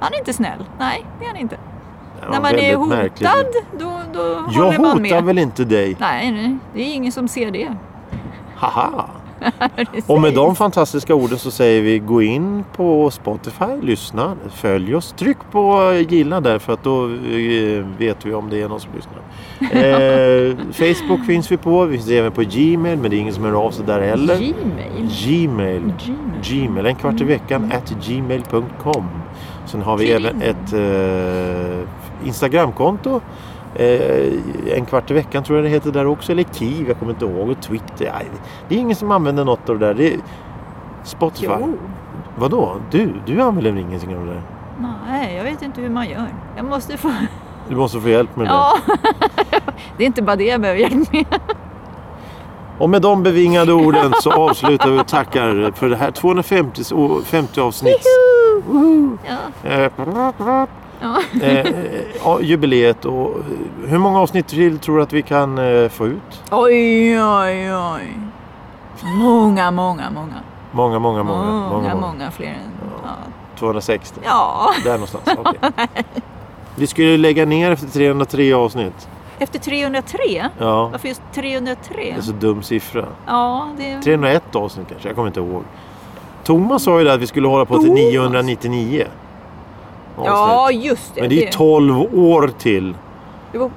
[SPEAKER 2] Han är inte snäll. Nej, det är han inte.
[SPEAKER 1] Ja,
[SPEAKER 2] När man är
[SPEAKER 1] väldigt
[SPEAKER 2] hotad,
[SPEAKER 1] märkligt.
[SPEAKER 2] då, då
[SPEAKER 1] Jag
[SPEAKER 2] håller man
[SPEAKER 1] hotar
[SPEAKER 2] med.
[SPEAKER 1] väl inte dig?
[SPEAKER 2] Nej, nej, det är ingen som ser det.
[SPEAKER 1] Haha!
[SPEAKER 2] Det
[SPEAKER 1] Och med
[SPEAKER 2] säger-
[SPEAKER 1] de fantastiska orden så säger vi gå in på Spotify, lyssna, följ oss. Tryck på gilla där för att då eh, vet vi om det är någon som lyssnar. Eh, Facebook finns vi på, vi finns även på Gmail men det är ingen som hör av sig där heller.
[SPEAKER 2] Gmail.
[SPEAKER 1] Gmail.
[SPEAKER 2] Gmail.
[SPEAKER 1] Gmail, en kvart i veckan,
[SPEAKER 2] Mm.
[SPEAKER 1] at gmail.com. Sen har vi även ett eh, Instagramkonto. Eh, en kvart i veckan tror jag det heter där också. Eller Kiv, jag kommer inte ihåg. Och Twitter. Nej, det är ingen som använder något av det där. Det är Spotify.
[SPEAKER 2] Jo.
[SPEAKER 1] Vadå? Du? Du använder väl ingenting av det där?
[SPEAKER 2] Nej, jag vet inte hur man gör. Jag måste få...
[SPEAKER 1] Du måste få hjälp med
[SPEAKER 2] Ja. Det är inte bara det jag behöver hjälp med.
[SPEAKER 1] det. Och med de bevingade orden så avslutar vi och tackar för det här 250 å- 50 avsnitts... Woho!
[SPEAKER 2] Ja.
[SPEAKER 1] Eh,
[SPEAKER 2] Ja.
[SPEAKER 1] eh, ja, jubileet. Och, eh, hur många avsnitt till tror du att vi kan eh, få ut?
[SPEAKER 2] Oj, oj, oj. Många, många, många.
[SPEAKER 1] Många, många, många.
[SPEAKER 2] många, Mm, många,
[SPEAKER 1] många.
[SPEAKER 2] fler än... Ja.
[SPEAKER 1] 260.
[SPEAKER 2] ja.
[SPEAKER 1] Där någonstans. okej. Vi skulle lägga ner efter 303 avsnitt.
[SPEAKER 2] Efter 303?
[SPEAKER 1] Ja,
[SPEAKER 2] Varför just 303?
[SPEAKER 1] det är så dum siffra.
[SPEAKER 2] Ja, det är...
[SPEAKER 1] 301 avsnitt kanske, jag kommer inte ihåg. Thomas sa ju det att vi skulle hålla på till
[SPEAKER 2] Thomas.
[SPEAKER 1] 999 avsnitt.
[SPEAKER 2] Ja, just det.
[SPEAKER 1] Men det är 12 år till.
[SPEAKER 2] Jo.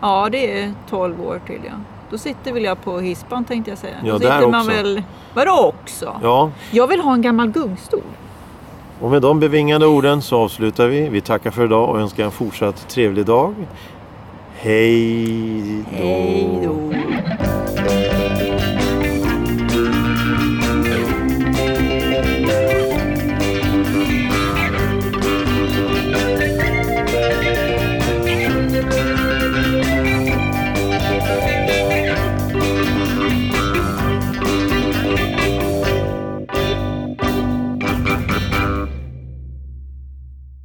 [SPEAKER 2] Ja, det är 12 år till ja. Då sitter väl jag på hispan tänkte jag säga.
[SPEAKER 1] Ja,
[SPEAKER 2] Då
[SPEAKER 1] där
[SPEAKER 2] sitter man
[SPEAKER 1] också.
[SPEAKER 2] väl... Vadå också?
[SPEAKER 1] Ja,
[SPEAKER 2] Jag vill ha en gammal gungstol.
[SPEAKER 1] Och med de bevingade orden så avslutar vi. Vi tackar för idag och önskar en fortsatt trevlig dag. Hej då!
[SPEAKER 2] Hej då.